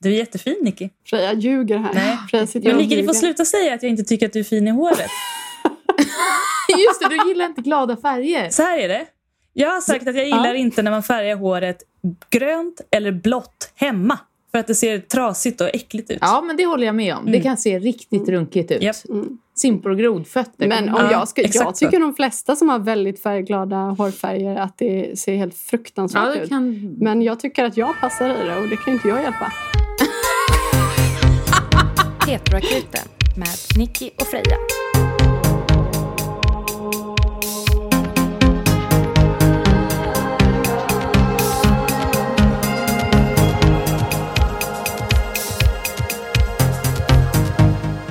Du är jättefin, Nicky. Freja ljuger här. Nej. Freja sitter Men och Nicky, du får ljuger. sluta säga att jag inte tycker att du är fin i håret. Just det, du gillar inte glada färger. Så här är det. Jag har sagt att jag gillar inte när man färgar håret grönt eller blått hemma. För att det ser trasigt och äckligt ut. Ja, men det håller jag med om. Det kan se riktigt runkigt ut. Japp. Simpor och grodfötter. Men om Ja, jag, ska, jag exakt så. tycker de flesta som har väldigt färgglada hårfärger att det ser helt ja, fruktansvärt det ut. kan... Men jag tycker att jag passar i det och det kan ju inte jag hjälpa. Tetroakuten med Nicky och Freja.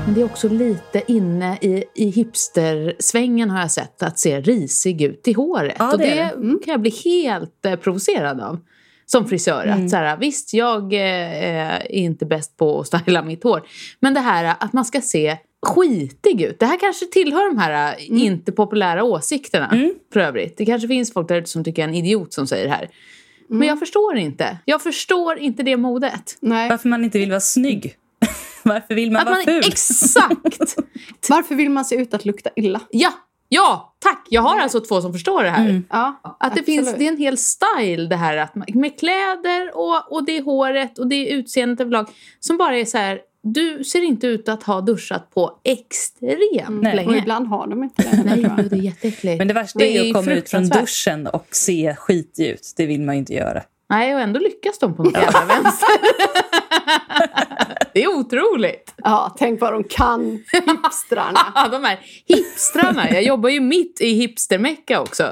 Men det är också lite inne i, i hipstersvängen har jag sett att se risig ut i håret. Ja, och det det, är det. mm, kan jag bli helt eh, provocerad av. Som frisör. Mm. Att så här, visst, jag eh, är inte bäst på att styla mitt hår. Men det här eh, att man ska se skitig ut. Det här kanske tillhör de här eh, Mm. inte populära åsikterna. För övrigt. Det kanske finns folk där ute som tycker jag är en idiot som säger det här. Mm. Men jag förstår inte. Jag förstår inte det modet. Nej. Varför man inte vill vara snygg. Varför vill man Att vara man, ful? exakt! Varför vill man se ut att lukta illa? Ja, ja, tack! Jag har alltså två som förstår det Mm. här. Ja, Att det, absolut. finns, det är en hel style det här att man, med kläder och, och det är håret och det är utseendet överlag som bara är så här, du ser inte ut att ha duschat på extremt Nej. Och länge. ibland har de inte det. Mm, Nej, tror jag. gud, det är jätteäckligt. Men det värsta Det är ju är att komma ut från fruktansvärt. duschen och se skitig ut. Det vill man ju inte göra. Nej, och ändå lyckas de på något jävla vänster. det är otroligt. Ja, tänk vad de kan, hipstrarna. Ja, de här hipstrarna. Jag jobbar ju mitt i hipstermecka också.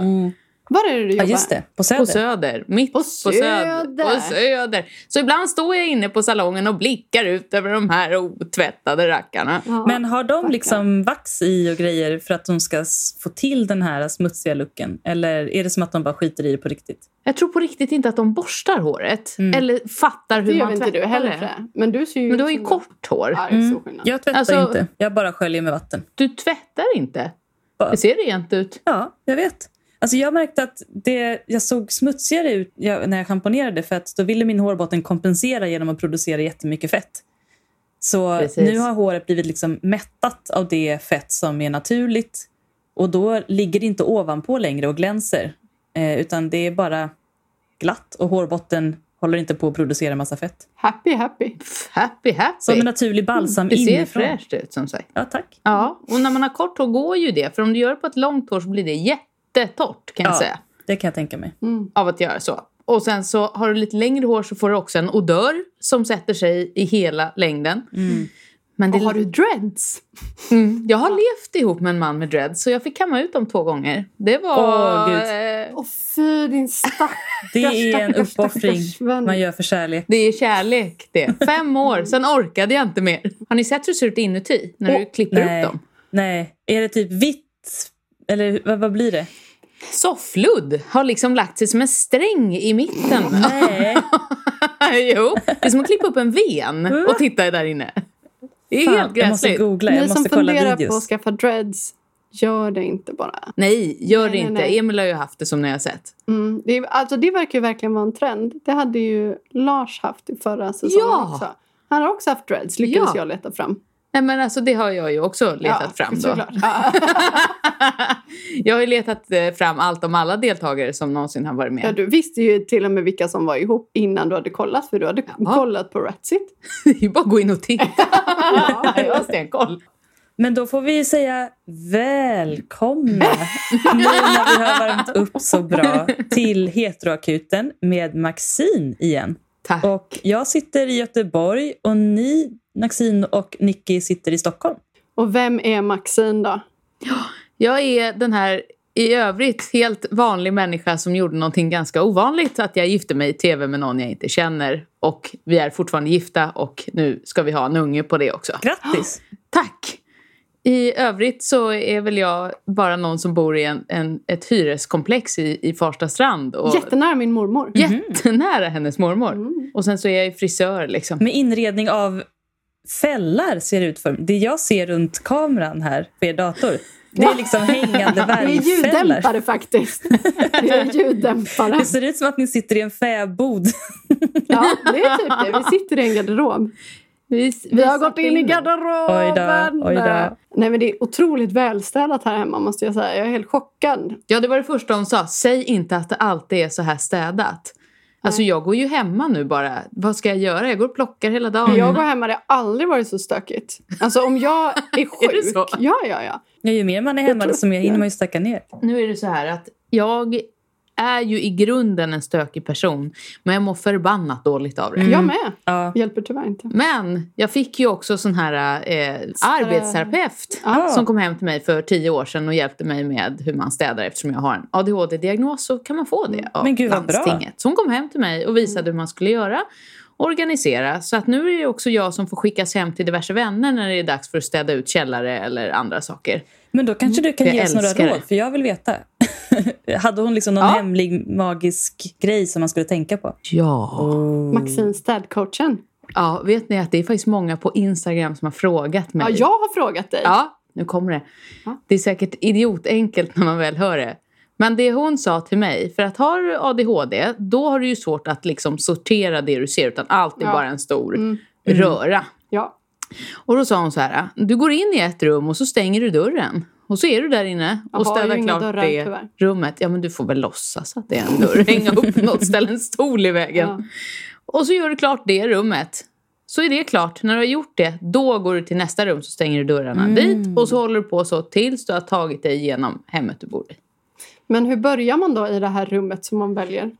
Var är det du jobbar? Ja, just det. På Mm. På Söder. Söder. Mitt på Söder. Söder. På söder. Så ibland står jag inne på salongen och blickar ut över de här otvättade rackarna. Ja. Men har de Verkligen. liksom vax i och grejer för att de ska s- få till den här smutsiga looken? Eller är det som att de bara skiter i det på riktigt? Jag tror på riktigt inte att de borstar håret. Mm. Eller fattar det hur gör man väl inte tvättar du heller, det. Freja? Men du ser ju Men du ut har ju som- kort hår. Ja, det är så skillnad. Mm. Jag tvättar Alltså- inte. Jag bara sköljer med vatten. Du tvättar inte. Va? Det ser rent ut. Ja, jag vet. Alltså jag märkte att det, jag såg smutsigare ut jag- när jag schamponerade för att då ville min hårbotten kompensera genom att producera jättemycket fett. Så Precis. nu har håret blivit liksom mättat av det fett som är naturligt och då ligger det inte ovanpå längre och glänser eh, utan det är bara glatt och hårbotten håller inte på att producera massa fett. Happy, happy. Pff, Happy, happy. Som en naturlig balsam det Mm, ser inifrån. fräscht ut som sagt. Ja, tack. Ja, och när man har kort hår går ju det. För om du gör det på ett långt hår så blir det jättetorrt kan jag Ja. säga. Det kan jag tänka mig. Mm. av att göra så. Och sen så har du lite längre hår så får du också en odör som sätter sig i hela längden. Mm. Men det, Och har du dreads? mm, jag har levt ihop med en man med dreads så jag fick kamma ut dem två gånger. Det var... Åh, Gud. eh, Åh fy, din stackars, Det är en stackars, uppoffring stackars vän. man gör för kärlek. det är kärlek det. Fem år, sen orkade jag inte mer. Har ni sett hur det ser ut inuti när du Åh, klipper nej. upp dem? Nej. Är det typ vitt? Eller vad, vad blir det? Soffludd har liksom lagt sig som en sträng i mitten. Mm. Nej. jo, det är som att klippa upp en ven och titta där inne. Det är helt Fan, jag måste gräsligt. googla. Ni Jag måste som kolla funderar på att videos. skaffa dreads, gör det inte bara. Nej, gör det nej, inte. nej. Emil har ju haft det som ni har sett. Mm. Det, är- alltså, det verkar ju verkligen vara en trend. Det hade ju Lars haft i förra säsongen Ja! också. Han har också haft dreads, lyckades Ja. jag leta fram. Nej men alltså det har jag ju också letat fram då. såklart. Ja. jag har ju letat eh, fram allt om alla deltagare som någonsin har varit med. Ja, du visste ju till och med vilka som var ihop innan du hade kollat, för du hade kollat på Ratsit. Det är ju bara att gå in och titta. jag har stenkoll. Men då får vi säga välkomna nu när vi har värmt upp så bra till Heteroakuten med Maxine igen. Tack. Och jag sitter i Göteborg och ni, Maxine och Nicky, sitter i Stockholm. Och vem är Maxine då? Jag är den här i övrigt helt vanlig människa som gjorde någonting ganska ovanligt. Att jag gifte mig i tv med någon jag inte känner. Och vi är fortfarande gifta och nu ska vi ha en unge på det också. Grattis! Tack! I övrigt så är väl jag bara någon som bor i en, en, ett hyreskomplex i, i Farsta strand. Och Jättenära min mormor. Mhm. Mm. Jättenära hennes mormor. Och sen så är jag ju frisör liksom. Med inredning av fällar ser ut för Det jag ser runt kameran här på er dator, det är liksom hängande Det är värmfällor. ljuddämpare faktiskt. Det är ljuddämpare. Det ser ut som att ni sitter i en fäbod. Ja, det är typ det. Vi sitter i en garderob. Vi, Vi har gått in i garderoben! Oj då, oj då. Nej, men det är otroligt välstädat här hemma måste jag säga. Jag är helt chockad. Ja, det var det första hon sa. Säg inte att det alltid är så här städat. Alltså jag går ju hemma nu bara. Vad ska jag göra? Jag går och plockar hela dagen. Jag går hemma, det har aldrig varit så stökigt. Alltså om jag är sjuk. det så? Ja, ja, ja. Ja, ju mer man är hemma, desto mer hinner man ju stacka ner. Nu är det så här att jag är ju i grunden en stökig person. Men jag mår förbannat dåligt av det. Mm. Jag med. Ja. Hjälper tyvärr inte. Mm. Men jag fick ju också sån här eh, arbetsterapeut Ja. som kom hem till mig för tio år sedan och hjälpte mig med hur man städar eftersom jag har en ADHD-diagnos så kan man få det av Mm. Men gud, vad bra. landstinget. Så hon kom hem till mig och visade hur man skulle göra organisera. Så att nu är det också jag som får skickas hem till diverse vänner när det är dags för att städa ut källare eller andra saker. Men då kanske du kan Mm. Jag ge oss några älskar det. råd, för jag vill veta. Hade hon liksom någon Ja. hemlig magisk grej som man skulle tänka på? Ja. Maxine städcoachen. ja, vet ni att det är faktiskt många på Instagram som har frågat mig. Ja, jag har frågat dig. Ja, nu kommer det. Ja. Det är säkert idiotenkelt när man väl hör det. Men det hon sa till mig, för att har du ADHD, då har du ju svårt att liksom sortera det du ser, utan allt är Ja. bara en stor Mm. röra. Ja. Och då sa hon så här, du går in i ett rum och så stänger du dörren. Och så är du där inne Jag och har ju städar inga klart dörrar, det tyvärr. rummet. Ja, men du får väl låtsas att det är en dörr. Hänga upp något, ställa en stol i vägen. Ja. Och så gör du klart det rummet. Så är det klart. När du har gjort det, då går du till nästa rum så stänger du dörrarna Mm. dit. Och så håller du på så tills du har tagit dig igenom hemmet du bor i. Men hur börjar man då i det här rummet som man väljer?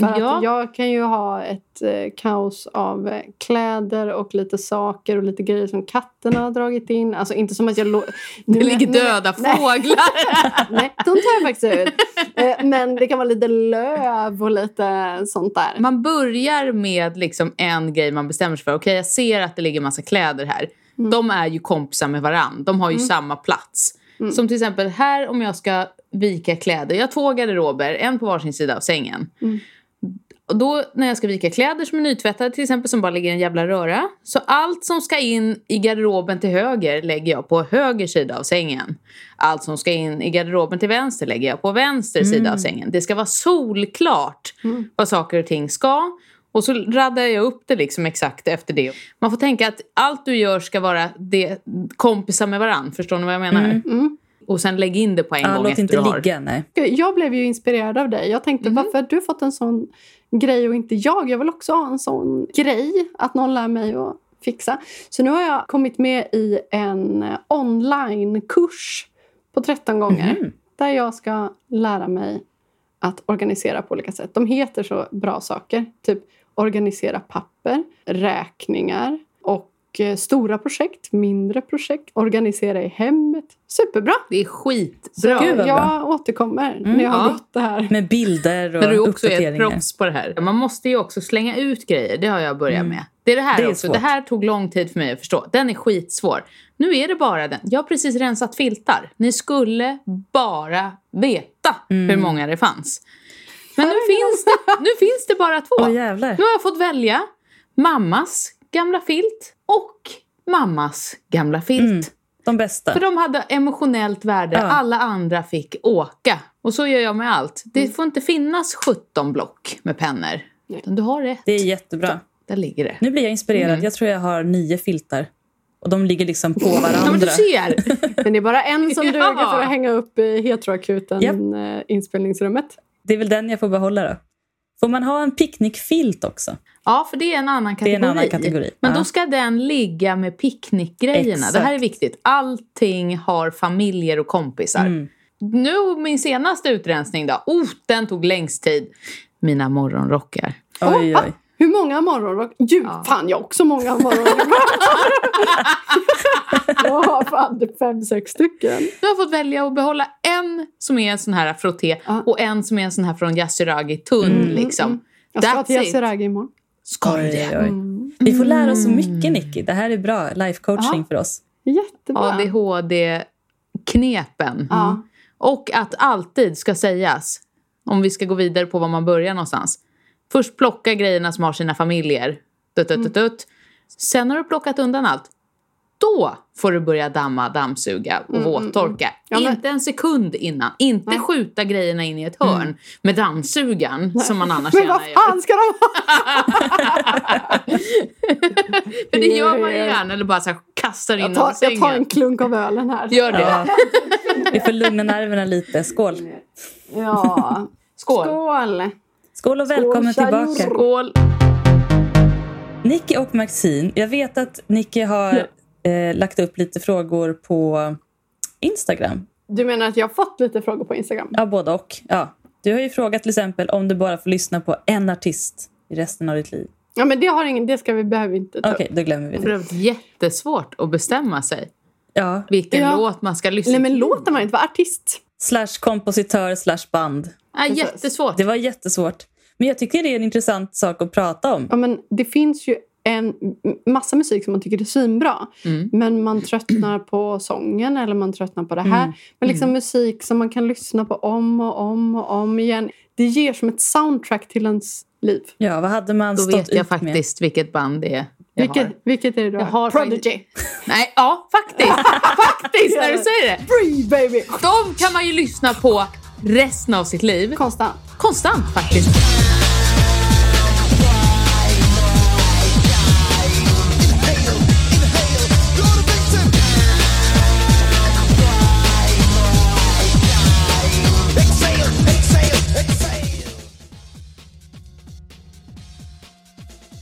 För att Ja. jag kan ju ha ett eh, kaos av eh, kläder och lite saker och lite grejer som katterna har dragit in. Alltså inte som att jag... Lo- nu, Det ligger döda nej, fåglar. Nej, de tar jag faktiskt ut. Eh, Men det kan vara lite löv och lite sånt där. Man börjar med liksom en grej man bestämmer sig för. Okej, jag ser att det ligger massa kläder här. De är ju kompisar med varann. De har ju samma plats. Som till exempel här om jag ska vika kläder. Jag har två garderober, en på varsin sida av sängen. Mm. Och då när jag ska vika kläder som är nytvättade till exempel som bara ligger i en jävla röra. Så allt som ska in i garderoben till höger lägger jag på höger sida av sängen. Allt som ska in i garderoben till vänster lägger jag på vänster sida av sängen. Det ska vara solklart vad saker och ting ska. Och så raddar jag upp det liksom exakt efter det. Man får tänka att allt du gör ska vara det, kompisar med varann. Förstår ni vad jag menar? Mm. Och sen lägg in det på en Ja, gång låt efter inte du har. ligga, nej. Jag blev ju inspirerad av dig. Jag tänkte, varför har du fått en sån grej och inte jag? Jag vill också ha en sån grej, att någon lär mig att fixa. Så nu har jag kommit med i en eh, onlinekurs på 13 gånger där jag ska lära mig att organisera på olika sätt. De heter så bra saker. Typ organisera papper, räkningar och eh, stora projekt, mindre projekt, organisera i hemmet. Superbra! Det är skitbra. Gud, vad jag bra. återkommer när jag har Mm. ja. gått det här. Med bilder och När du också är ett uppdateringar. proffs på det här. Man måste ju också slänga ut grejer. Det har jag börjat med. Det är det här Mm. Det är också. svårt. Det här tog lång tid för mig att förstå. Den är skitsvår. Nu är det bara den. Jag har precis rensat filtar. Ni skulle bara veta hur Mm. många det fanns. Men nu finns det, nu finns det bara två. Åh jävlar. Nu har jag fått välja mammas gamla filt och mammas gamla filt. Mm. De bästa. För de hade emotionellt värde. Ja. Alla andra fick åka. Och så gör jag med allt. Det Mm. får inte finnas 17 block med pennor. Nej. Utan du har rätt. Det är jättebra. Där ligger det. Nu blir jag inspirerad. Mm. Jag tror jag har nio filtar. Och de ligger liksom på Ja, men varandra. du ser! Men det är bara en som Ja. duger för att hänga upp i heteroakuten Japp. eh, inspelningsrummet. Det är väl den jag får behålla då. Får man ha en picknickfilt också? Ja, för det är en annan Det är kategori. en annan kategori. Men Ja. då ska den ligga med picknickgrejerna. Det här är Exakt. viktigt. Allting har familjer och kompisar. Mm. Nu min senaste utrensning då. Oh, den tog längst tid. Mina morgonrockar. Oj, va? oj. Hur många morgonrock? Gud, Ja. fan jag har också många morgonrock. jag har fan fem, sex stycken. Du har fått välja att behålla en som är en sån här frotté Ja. och en som är en sån här från Yasuragi, tunn mm, liksom. mm. Jag ska That's till it. Yasuragi imorgon. Mm. Ska du Oj, det? Mm. oj, oj. Vi får lära oss så mycket, Nicky. Det här är bra life coaching Ja. för oss. Jättebra. ADHD-knepen. Ja. Och att alltid ska sägas, om vi ska gå vidare Mm. på var man börjar någonstans. Först plocka grejerna som har sina familjer. Dutt, dutt, dutt, dutt. Sen har du plockat undan allt. Då får du börja damma, dammsuga och Mm, mm, våttorka. Ja, men- Inte en sekund innan. Inte Nej. Mm. skjuta grejerna in i ett hörn med dammsugaren som man annars Men vad gärna gör. fan ska de ha? För det gör man ju gärna. Eller bara så här, kastar in Jag dem tar, i sängen. jag tar en klunk av ölen här. Gör det. Ja. Vi får lugna nerverna lite. Skål! Ja. Skål. Skål. Skål och välkommen Skål, tjejor. tillbaka. Skål. Nicky och Maxine. Jag vet att Nicky har eh, lagt upp lite frågor på Instagram. Du menar att jag har fått lite frågor på Instagram? Ja, både och. Ja. Du har ju frågat till exempel om du bara får lyssna på en artist i resten av ditt liv. Ja, men det, har ingen, det ska vi, behöver vi inte ta Okej, upp. då glömmer vi För det. det är jättesvårt att bestämma sig Ja. vilken Ja. låt man ska lyssna Nej, men till. låter man inte vara artist? Slash kompositör, slash band. Ja, Precis. jättesvårt. Det var jättesvårt. Men jag tycker det är en intressant sak att prata om. Ja, men det finns ju en massa musik som man tycker är svinbra. Mm. Men man tröttnar på sången eller man tröttnar på det här. Mm. Men liksom musik som man kan lyssna på om och om och om igen. Det ger som ett soundtrack till ens liv. Ja, vad hade man Då stått vet jag ut med? faktiskt vilket band det är jag Vilket, har. vilket är det du Jag har Prodigy. Nej, ja, faktiskt. faktiskt, när du säger det. Free baby! De kan man ju lyssna på resten av sitt liv. Konstant. Konstant faktiskt.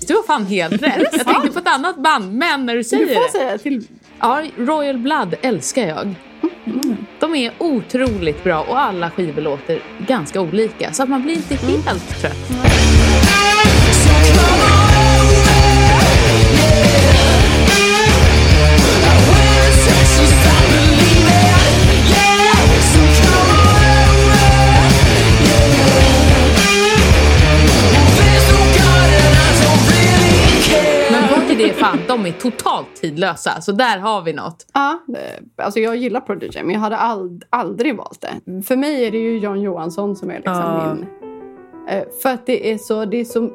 Du har fan helt rätt. Jag tänkte på ett annat band, men när du säger Du får det. säga till. Ja, Royal Blood älskar jag. De är otroligt bra och alla skivor låter ganska olika så att man blir inte Mm. helt trött. Men bort i det fan, de är totalt tidlösa så där har vi något. Ja, eh, alltså jag gillar Prodigy, men jag hade ald- aldrig valt det. För mig är det ju Jan Johansson som är liksom Ja. min... eh, För att det är, så, det är så,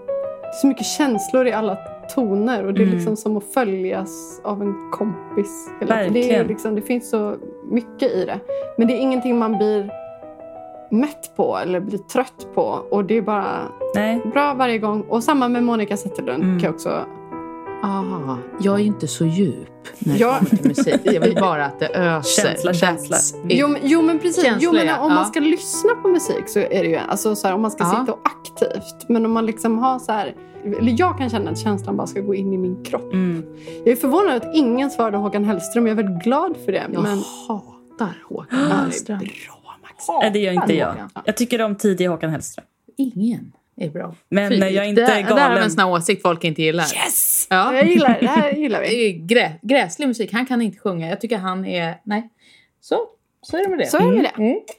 så mycket känslor i alla toner och det är Mm. liksom som att följas av en kompis. hela tiden. Det, är Verkligen. liksom, det finns så mycket i det. Men det är ingenting man blir mätt på eller blir trött på. Och det är bara Nej. bra varje gång. Och samma med Monica Zetterlund Mm. kan jag också... Ah, jag är ju inte så djup när Ja. det kommer till musik. Jag vill bara att det öser. Känsla, That's känsla. it. Jo, men- jo men precis. Känsla, Jo, men ja. om Ja. man ska lyssna på musik så är det ju alltså, så här, om man ska Ja. sitta och aktivt. Men om man liksom har så här... Eller jag kan känna att känslan bara ska gå in i min kropp. Mm. Jag är förvånad över att ingen svarade Håkan Hellström. Jag är väldigt glad för det. Jag Men hatar Håkan Hellström. bra Max. Nej, det gör inte jag. Håkan. Jag tycker om tidiga Håkan Hellström. Ingen är bra. Men Fy, eh, jag är inte där, Där har vi en galen. sån här åsikt folk inte gillar. Yes! Ja. Jag gillar, det här gillar Det vi. är grä, gräslig musik. Han kan inte sjunga. Jag tycker han är... Nej. Så, så är det med det. Så är det med det.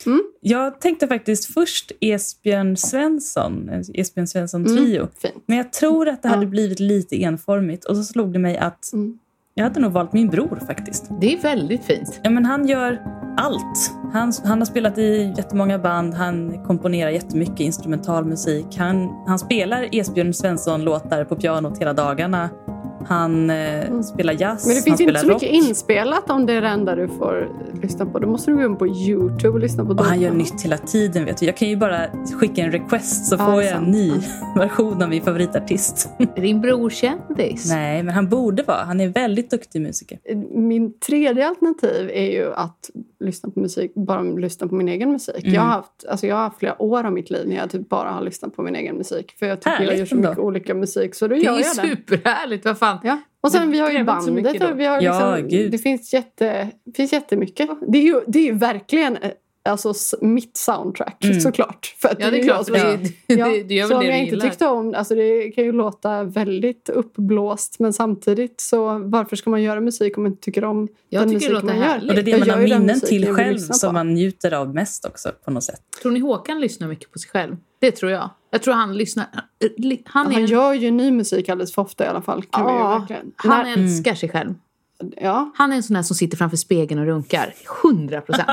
Mm. Jag tänkte faktiskt först Esbjörn Svensson, en Esbjörn Mm. Svensson-trio. Fint. Men jag tror att det Ja. hade blivit lite enformigt. Och så slog det mig att Mm. jag hade nog valt min bror faktiskt. Det är väldigt fint. Ja, men han gör allt. Han, han har spelat i jättemånga band, han komponerar jättemycket instrumental musik. Han, han spelar Esbjörn Svensson-låtar på pianot hela dagarna. Han eh, Mm. spelar jazz, Men det han finns ju inte spelar så rock. mycket inspelat om det är det enda du får lyssna på. Då måste du gå in på Youtube och lyssna på Och han gör dem. nytt hela tiden. Vet du. Jag kan ju bara skicka en request så Ja, får det är jag en sant. ny version av min favoritartist. Är din bror kändis? Nej, men han borde vara. Han är en väldigt duktig musiker. Min tredje alternativ är ju att lyssna på musik, bara lyssna på min egen musik. Mm. Jag, har haft, alltså jag har haft flera år av mitt liv när jag typ bara har lyssnat på min egen musik. För jag tycker jag Härligt gör så ändå. mycket olika musik så då Det gör är ju jag det. superhärligt. Vad fan. Ja. Och sen Men vi har det ju är väl inte så bandet mycket då? och vi har liksom, Ja, gud. det finns, jätte, finns jättemycket. Det är ju, det är ju verkligen eh, alltså, s- mitt soundtrack Mm. såklart. För att Ja, det är ju jag klart. som- Det, Ja, det, du gör så väl om det jag du inte gillar. tyckte om, alltså det kan ju låta väldigt uppblåst men samtidigt så varför ska man göra musik om man inte tycker om Jag den tycker det musik låter man gör. härligt. Och det är det Jag man har gör ju den minnen musiken till jag vill själv lyssna på. som man njuter av mest också på något sätt. Tror ni Håkan lyssnar mycket på sig själv? Det tror jag. Jag tror han lyssnar... Han, Han, är, gör ju ny musik alldeles för ofta i alla fall. Kan vi ju Ja, verkligen. han När, älskar sig själv. ja. Han är en sån där som sitter framför spegeln och runkar. 100 procent.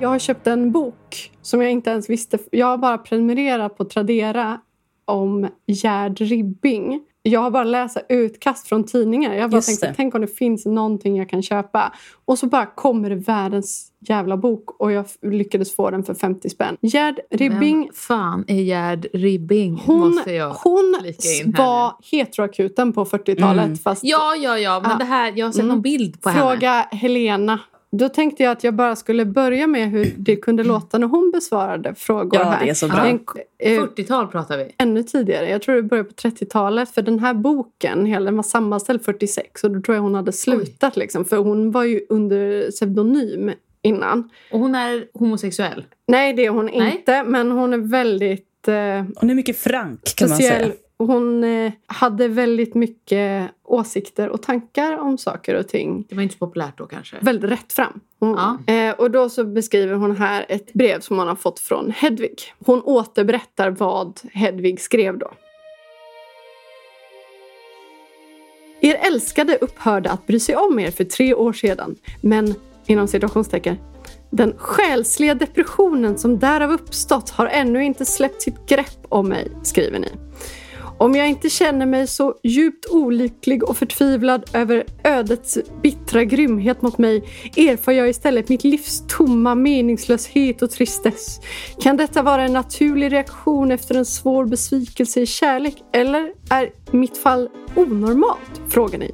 Jag har köpt en bok som jag inte ens visste. Jag har bara prenumererat på Tradera om Gerd Ribbing. Jag har bara läst utkast från tidningar. Jag har bara Just tänkt, det. tänk om det finns någonting jag kan köpa. Och så bara kommer det världens jävla bok och jag f- lyckades få den för 50 spänn. Gerd Ribbing, Vem fan är Gerd Ribbing? hon, måste jag... hon flika in s- här nu? var heteroakuten på 40-talet. Mm. Fast Ja, ja, ja. Men Ja. det här, jag har sett Mm. någon bild på henne. Fråga Helena. Då tänkte jag att jag bara skulle börja med hur det kunde låta när hon besvarade frågor Ja, här. det är så Ja. bra. En, eh, 40-tal pratar vi. ännu tidigare, jag tror det började på 30-talet. För den här boken, hela- den var sammanställd 46 och då tror jag hon hade slutat. Liksom, för hon var ju under pseudonym innan. Och hon är homosexuell. Nej, det är hon Nej. inte, men hon är väldigt... Eh, Hon är mycket frank, kan man speciell. säga. Hon eh, hade väldigt mycket åsikter och tankar om saker och ting. Det var inte så populärt då kanske. Väldigt rätt fram. Hon, Ja. eh, och då så beskriver hon här ett brev som hon har fått från Hedvig. Hon återberättar vad Hedvig skrev då. Er älskade upphörde att bry sig om er för tre år sedan. Men, inom citationstecken, den själsliga depressionen som därav uppstått har ännu inte släppt sitt grepp om mig, skriver ni. Om jag inte känner mig så djupt olycklig och förtvivlad över ödets bittra grymhet mot mig erfar jag istället mitt livs tomma meningslöshet och tristess. Kan detta vara en naturlig reaktion efter en svår besvikelse i kärlek eller är mitt fall onormalt? Frågar ni.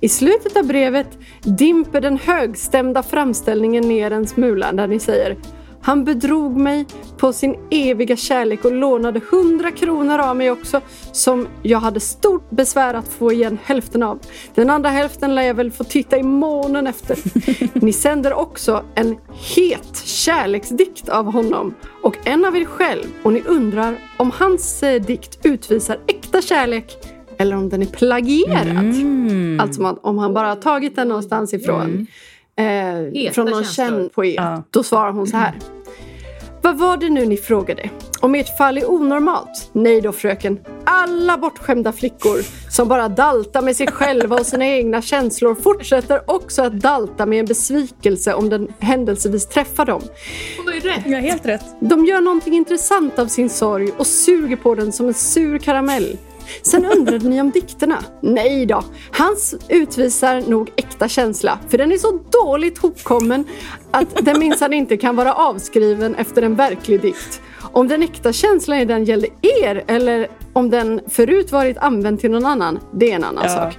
I slutet av brevet dimper den högstämda framställningen ner en smula där ni säger han bedrog mig på sin eviga kärlek och lånade 100 kronor av mig också som jag hade stort besvär att få igen hälften av. Den andra hälften lär jag väl få titta i månen efter. Ni sänder också en het kärleksdikt av honom och en av er själv och ni undrar om hans eh, dikt utvisar äkta kärlek eller om den är plagierad. Mm. Alltså man, om han bara har tagit den någonstans ifrån. Eh, Heta från någon känslor. känd poet. Mm. Ja. Då svarar hon så här. Vad var det nu ni frågade? Om ert fall är onormalt? Nej då fröken. Alla bortskämda flickor som bara daltar med sig själva och sina egna känslor fortsätter också att dalta med en besvikelse om den händelsevis träffar dem. Hon var ju rätt. Jag har helt rätt. De gör någonting intressant av sin sorg och suger på den som en sur karamell. Sen undrade ni om dikterna? Nej då, hans utvisar nog äkta känsla för den är så dåligt hopkommen att den minsann inte kan vara avskriven efter en verklig dikt. Om den äkta känslan i den gällde er eller om den förut varit använd till någon annan, det är en annan Ja. sak.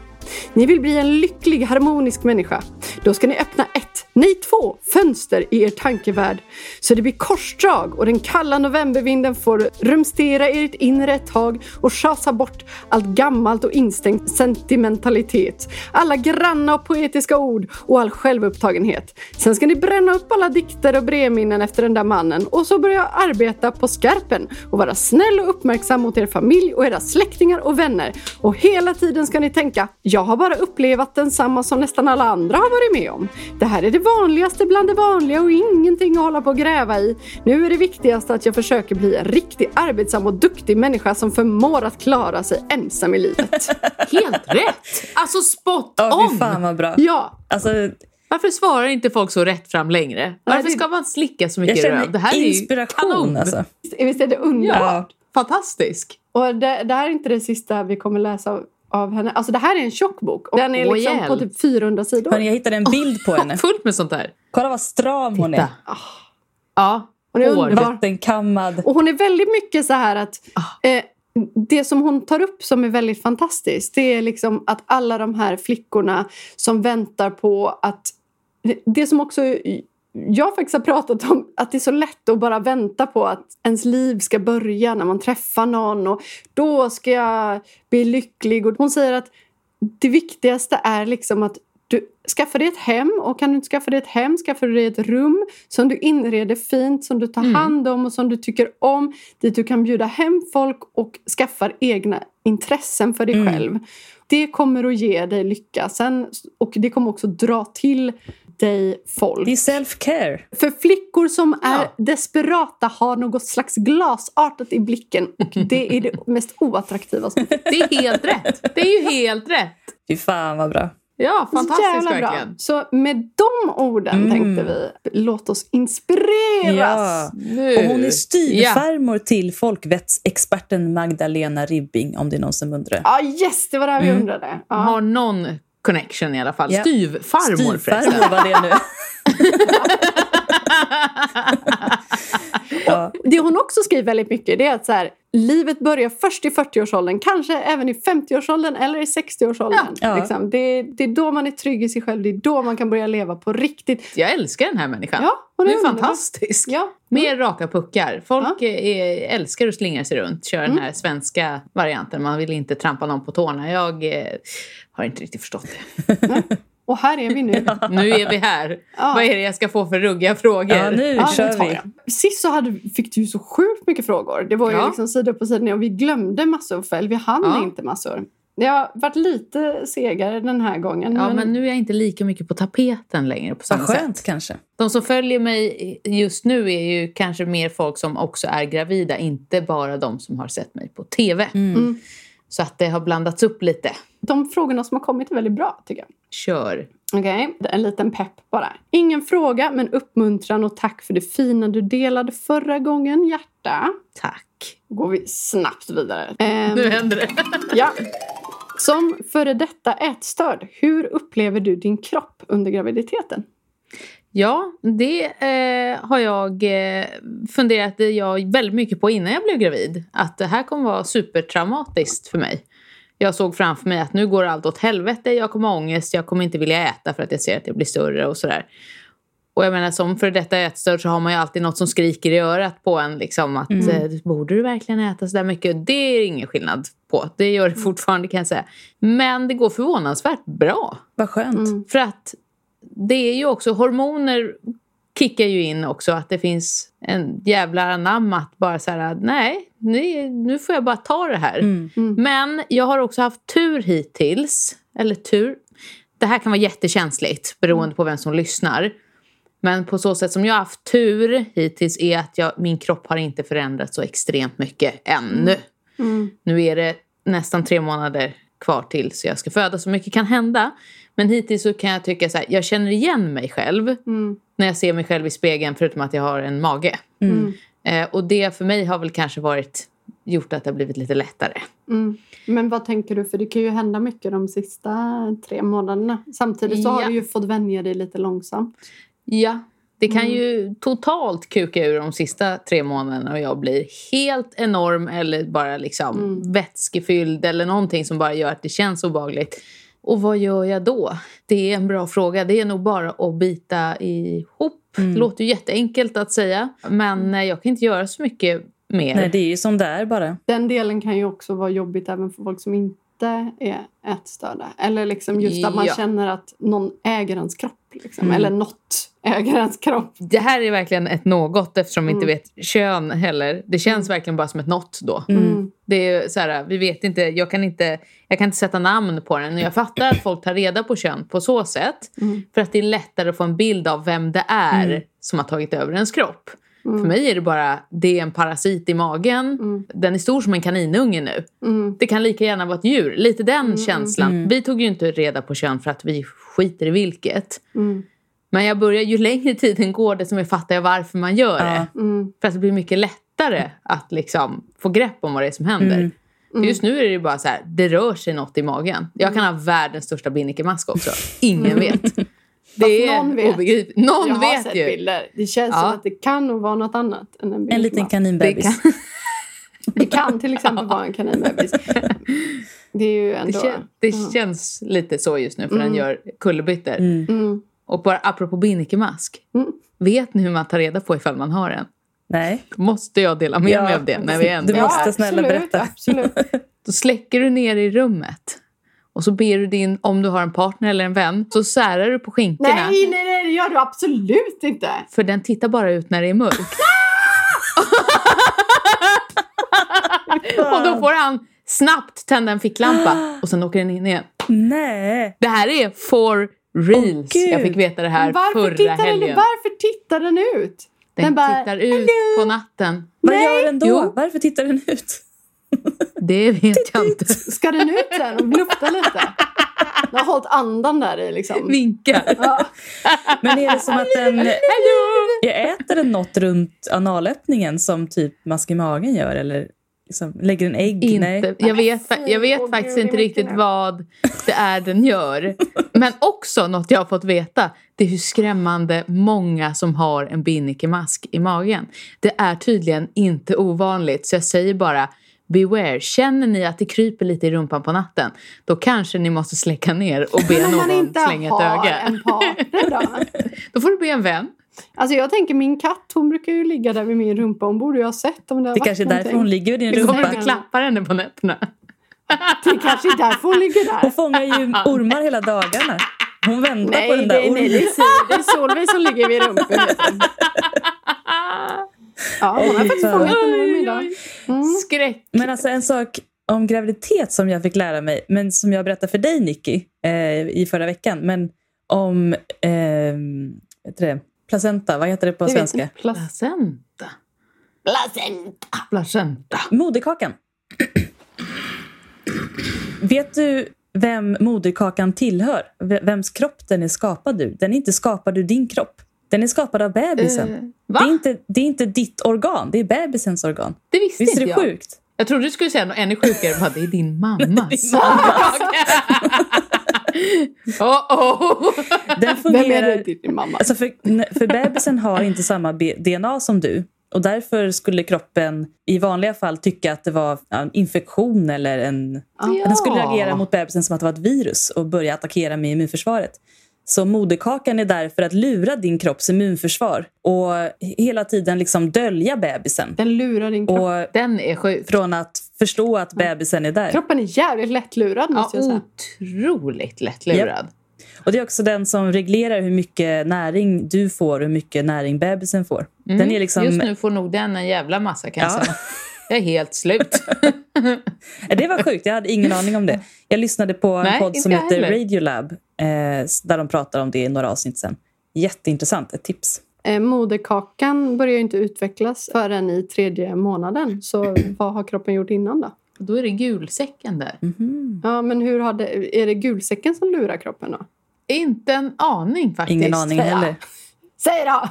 Ni vill bli en lycklig, harmonisk människa. Då ska ni öppna ett, nej två, fönster i er tankevärld. Så det blir korsdrag och den kalla novembervinden får rumstera i ert inre ett tag och schasa bort allt gammalt och instängt sentimentalitet. Alla granna och poetiska ord och all självupptagenhet. Sen ska ni bränna upp alla dikter och brevminnen efter den där mannen och så börja arbeta på skarpen och vara snäll och uppmärksam mot er familj och era släktingar och vänner. Och hela tiden ska ni tänka, jag har bara upplevt densamma som nästan alla andra har varit med om. Det här är det vanligaste bland det vanliga och ingenting att hålla på och gräva i. Nu är det viktigaste att jag försöker bli en riktig arbetsam och duktig människa som förmår att klara sig ensam i livet. Helt rätt! Alltså spot Ja, fy on! fan vad bra. Ja, Alltså, Varför svarar inte folk så rätt fram längre? Varför det- ska man slicka så jag mycket röv? Det känner här är ju inspiration. kanon. Alltså. visst är det underbart? Ja. Fantastisk! Och det, det här är inte det sista vi kommer läsa av, av henne. Alltså det här är en tjock bok. Och den är Åh, liksom på hjälp. typ 400 sidor. Hörni, jag hittade en bild på henne. Fullt med sånt där. Kolla vad stram hon är. Titta. Ja. Ah, Hon är Hår. underbar. Vattenkammad. Och hon är väldigt mycket så här att eh, det som hon tar upp som är väldigt fantastiskt det är liksom att alla de här flickorna som väntar på att... Det som också jag faktiskt har pratat om, att det är så lätt att bara vänta på att ens liv ska börja när man träffar någon och då ska jag bli lycklig. Och hon säger att det viktigaste är liksom att du skaffar dig ett hem och kan du inte skaffa dig ett hem, skaffa dig ett rum som du inreder fint, som du tar Mm. hand om och som du tycker om. Dit du kan bjuda hem folk och skaffar egna intressen för dig Mm. själv. Det kommer att ge dig lycka sen och det kommer också dra till dig folk. Det är self-care. För flickor som är Ja. desperata har något slags glasartat i blicken och det är det mest oattraktiva som Det är helt rätt. Det är ju helt rätt. Fy fan vad bra. Ja, fantastiskt Jävla bra. verkligen. Så med de orden Mm. tänkte vi, låt oss inspireras. Ja. Nu. Och hon är Ja. styvfarmor till folkvettsexperten Magdalena Ribbing, om det är någon som undrar. Ja, yes, det var det här vi Mm. undrade. Ja. Har någon connection i alla fall. Ja. Styvfarmor förresten. Styvfarmor var det nu. ja. Det hon också skriver väldigt mycket det är att så här, livet börjar först i 40-årsåldern, kanske även i 50-årsåldern eller i 60-årsåldern. Ja. Liksom. Det, det är då man är trygg i sig själv, det är då man kan börja leva på riktigt. Jag älskar den här människan. Ja, hon Hon är, är underbar. fantastisk. Ja. Mer raka puckar. Folk eh, älskar att slingra sig runt. Kör den här svenska varianten. Man vill inte trampa någon på tårna. Jag eh, har inte riktigt förstått det. Och här är vi nu. Nu är vi här. Ja. Vad är det jag ska få för ruggiga frågor? ja, nu Ja, kör det tar vi. jag. Sist så hade, fick du ju så sjukt mycket frågor. Det var ju Ja. liksom sida upp och sida ner och vi glömde massor för vi hann Ja. inte massor. Jag har varit lite segare den här gången. Ja, men- men nu är jag inte lika mycket på tapeten längre på samma Vad sätt. skönt kanske. De som följer mig just nu är ju kanske mer folk som också är gravida, inte bara de som har sett mig på TV. Mm. Mm. Så att det har blandats upp lite. De frågorna som har kommit är väldigt bra tycker jag. Kör. Okej, en liten pepp bara. Ingen fråga, men uppmuntran och tack för det fina du delade förra gången, hjärta. Tack. går vi snabbt vidare. Ehm, Nu händer det. ja. Som före detta ätstörd, hur upplever du din kropp under graviditeten? Ja, det eh, har jag eh, funderat jag väldigt mycket på innan jag blev gravid. Att det här kommer vara supertraumatiskt för mig. Jag såg framför mig att nu går allt åt helvete, jag kommer ha ångest, jag kommer inte vilja äta för att jag ser att jag blir större och sådär. Och jag menar som för detta ätstörd så har man ju alltid något som skriker i örat på en. Liksom, att Mm. eh, Borde du verkligen äta sådär mycket? Det är ingen skillnad på. Det gör det fortfarande kan jag säga. Men det går förvånansvärt bra. Vad skönt. Mm. För att det är ju också, hormoner kickar ju in också att det finns en jävla anamma att bara så här, nej, nu, nu får jag bara ta det här. Mm. Men jag har också haft tur hittills, eller tur, det här kan vara jättekänsligt beroende på vem som lyssnar. Men på så sätt som jag har haft tur hittills är att jag, min kropp har inte förändrats så extremt mycket ännu. Mm. Nu är det nästan tre månader kvar till så jag ska föda. Så mycket kan hända. Men hittills så kan jag tycka så här, jag känner igen mig själv Mm. när jag ser mig själv i spegeln förutom att jag har en mage. Mm. Eh, och det för mig har väl kanske varit gjort att det har blivit lite lättare. Mm. Men vad tänker du? För det kan ju hända mycket de sista tre månaderna. Samtidigt så har Ja. du ju fått vänja dig lite långsamt. Ja, det kan Mm. ju totalt kuka ur de sista tre månaderna och jag blir helt enorm eller bara liksom Mm. vätskefylld eller någonting som bara gör att det känns obehagligt. Och vad gör jag då? Det är en bra fråga. Det är nog bara att bita ihop. Mm. Det låter ju jätteenkelt att säga, men eh, jag kan inte göra så mycket mer. Nej, det är ju som det är bara. Den delen kan ju också vara jobbigt även för folk som inte är ätstörda. Eller liksom just att man Ja. känner att någon äger ens kropp. Liksom. Mm. Eller något äger ens kropp. det här är verkligen ett något eftersom vi inte Mm. vet kön heller. Det känns verkligen bara som ett något då. Mm. Det är ju så här, vi vet inte, jag kan inte, jag kan inte sätta namn på den. Och jag fattar att folk tar reda på kön på så sätt. Mm. För att det är lättare att få en bild av vem det är Mm. som har tagit över ens kropp. Mm. För mig är det bara, det är en parasit i magen. Mm. Den är stor som en kaninunge nu. Mm. Det kan lika gärna vara ett djur. Lite den Mm, känslan. mm. Vi tog ju inte reda på kön för att vi skiter i vilket. Mm. Men jag börjar, ju längre tiden går desto mer fattar jag varför man gör det. Ja. Mm. För att det blir mycket lättare att liksom få grepp om vad det är som händer. Mm. För Just nu är det ju bara så här, det rör sig något i magen. Jag kan ha världens största binnikemask också. Ingen vet. Det Mm. Fast är någon vet. obegripligt. Jag Någon har vet sett ju. bilder. Det känns Ja. som att det kan nog vara något annat än en bild. En liten man- kaninbebis. Det Det kan till exempel vara en kaninbebis. Det är ju Det, ändå... kän, det Ja. känns lite så just nu för Mm. den gör kullerbyttor. Mm. Mm. Och bara apropå binnikemask. Mm. Vet ni hur man tar reda på ifall man har en? Nej. Måste jag dela med Ja. mig av det när vi ändå Du är måste här? snälla absolut, berätta. Absolut. Då släcker du ner i rummet. Och så ber du din, om du har en partner eller en vän, så särar du på skinkorna. Nej, nej, nej, det gör du absolut inte. För den tittar bara ut när det är mörkt. och då får han snabbt tända en ficklampa och sen åker den in igen. Nej. Det här är for reals. Åh, gud. jag fick veta det här Men varför, förra tittar den, helgen. varför tittar den ut? Den, den bara, tittar ut på natten. Vad gör den då? Jo. Varför tittar den ut? Det vet jag inte. Ska den ut sen och lufta lite? Den har hållit andan där i liksom. Vinkar. Ja. Men är det som att den... Hallå! Jag äter den något runt analöppningen som typ mask i magen gör? Eller liksom, lägger en ägg? Nej. Inte, jag, vet, fa- jag Åh, vet gud, faktiskt det är inte mycket riktigt nu. vad det är den gör. Men också något jag har fått veta, det är hur skrämmande många som har en binnikemask i magen. Det är tydligen inte ovanligt, så jag säger bara Beware, känner ni att det kryper lite i rumpan på natten, då kanske ni måste släcka ner och be Men om man någon inte slänga ett har öga. en partner då? Då får du be en vän. Alltså jag tänker min katt hon brukar ju ligga där vid min rumpa. Hon borde ju ha sett om det har Det varit kanske är därför hon någonting. ligger vid din Du kommer rumpa. inte klappa henne på nätterna. Det kanske är därför hon ligger där. Hon fångar ju ormar hela dagarna. Hon väntar på Nej, den där det, ormen. nej det, är, Siv- det är Solveig som ligger vid rumpan. vet du. Ja, hon har faktiskt Oj, fångat den nu Oj, middag. oj. Mm. Skräck. Men alltså en sak om graviditet som jag fick lära mig, men som jag berättade för dig Nicky eh, i förra veckan, men om eh, vet du det, placenta, vad heter det på Det vet svenska? inte. Plast- Placenta. Placenta. Placenta. Moderkakan. vet du vem moderkakan tillhör? V- vems kropp den är skapad ur? Den är inte skapad ur din kropp. Den är skapad av bebisen. Eh, det, är va? inte, det är inte ditt organ, det är bebisens organ. Det visste Visst är inte det jag. sjukt? Jag trodde du skulle säga något ännu sjukare. Bara, det är din mammas. Alltså, oh, oh. Den Vem är fungerar... det? Din mamma. Alltså för, n- för bebisen har inte samma B- DNA som du. Och därför skulle kroppen i vanliga fall tycka att det var ja, en infektion eller en... Ja. Den skulle reagera mot bebisen som att det var ett virus och börja attackera med immunförsvaret. Så moderkakan är där för att lura din kropps immunförsvar och hela tiden liksom dölja bebisen. Den lurar din kropp. Och Den är sjuk. från att förstå att bebisen är där. Kroppen är jävligt lättlurad Ja, måste jag oh. säga. otroligt lättlurad. Och det är också den som reglerar hur mycket näring du får och hur mycket näring bebisen får. Den är Mm, liksom Mm. Just nu får nog den en jävla massa kan Ja. jag säga. Jag är helt slut. Ja, Det var sjukt, jag hade ingen aning om det. Jag lyssnade på en Nej, podd inte som jag heter heller. Radiolab eh, där de pratar om det i några avsnitt sen. Jätteintressant, ett tips. Eh, moderkakan börjar ju inte utvecklas förrän i tredje månaden. Så vad har kroppen gjort innan då? Då är det gulsäcken där. Mhm. Ja, men hur har det, är det gulsäcken som lurar kroppen då? Inte en aning faktiskt. Ingen aning heller. Säg då!